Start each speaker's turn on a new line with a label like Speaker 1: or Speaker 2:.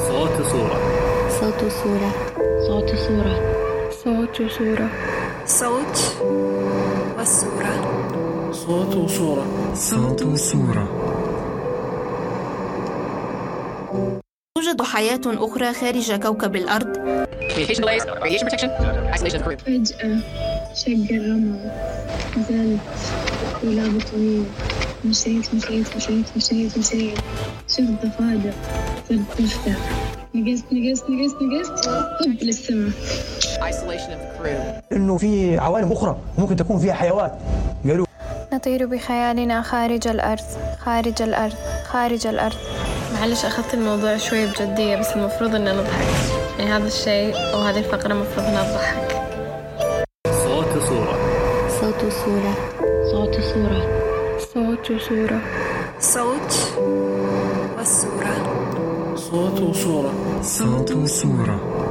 Speaker 1: صوت صورة
Speaker 2: صوت وصورة
Speaker 3: صوت وصورة
Speaker 2: صوت وصورة
Speaker 4: صوت والصورة
Speaker 1: صوت وصورة صوت وصورة
Speaker 5: توجد حياة أخرى خارج كوكب الأرض
Speaker 6: Communication delays, radiation protection, isolation of group.
Speaker 3: فجأة شق الرمل نزلت ولا بطلوع مشيت مشيت مشيت مشيت مشيت شفت ضفادع صرت تفتح نقزت نقزت نقزت نقزت طب للسما
Speaker 6: Isolation of the crew.
Speaker 7: انه في عوالم اخرى ممكن تكون فيها حيوات قالوا
Speaker 2: نطير بخيالنا خارج الأرض خارج الأرض خارج الأرض
Speaker 8: معلش أخذت الموضوع شوي بجدية بس المفروض إن نضحك يعني هذا الشيء أو هذه الفقرة المفروض إنها تضحك
Speaker 1: صوت وصورة
Speaker 2: صوت وصورة
Speaker 3: صوت وصورة
Speaker 2: صوت وصورة
Speaker 4: صوت والصورة
Speaker 1: صوت وصورة صوت وصورة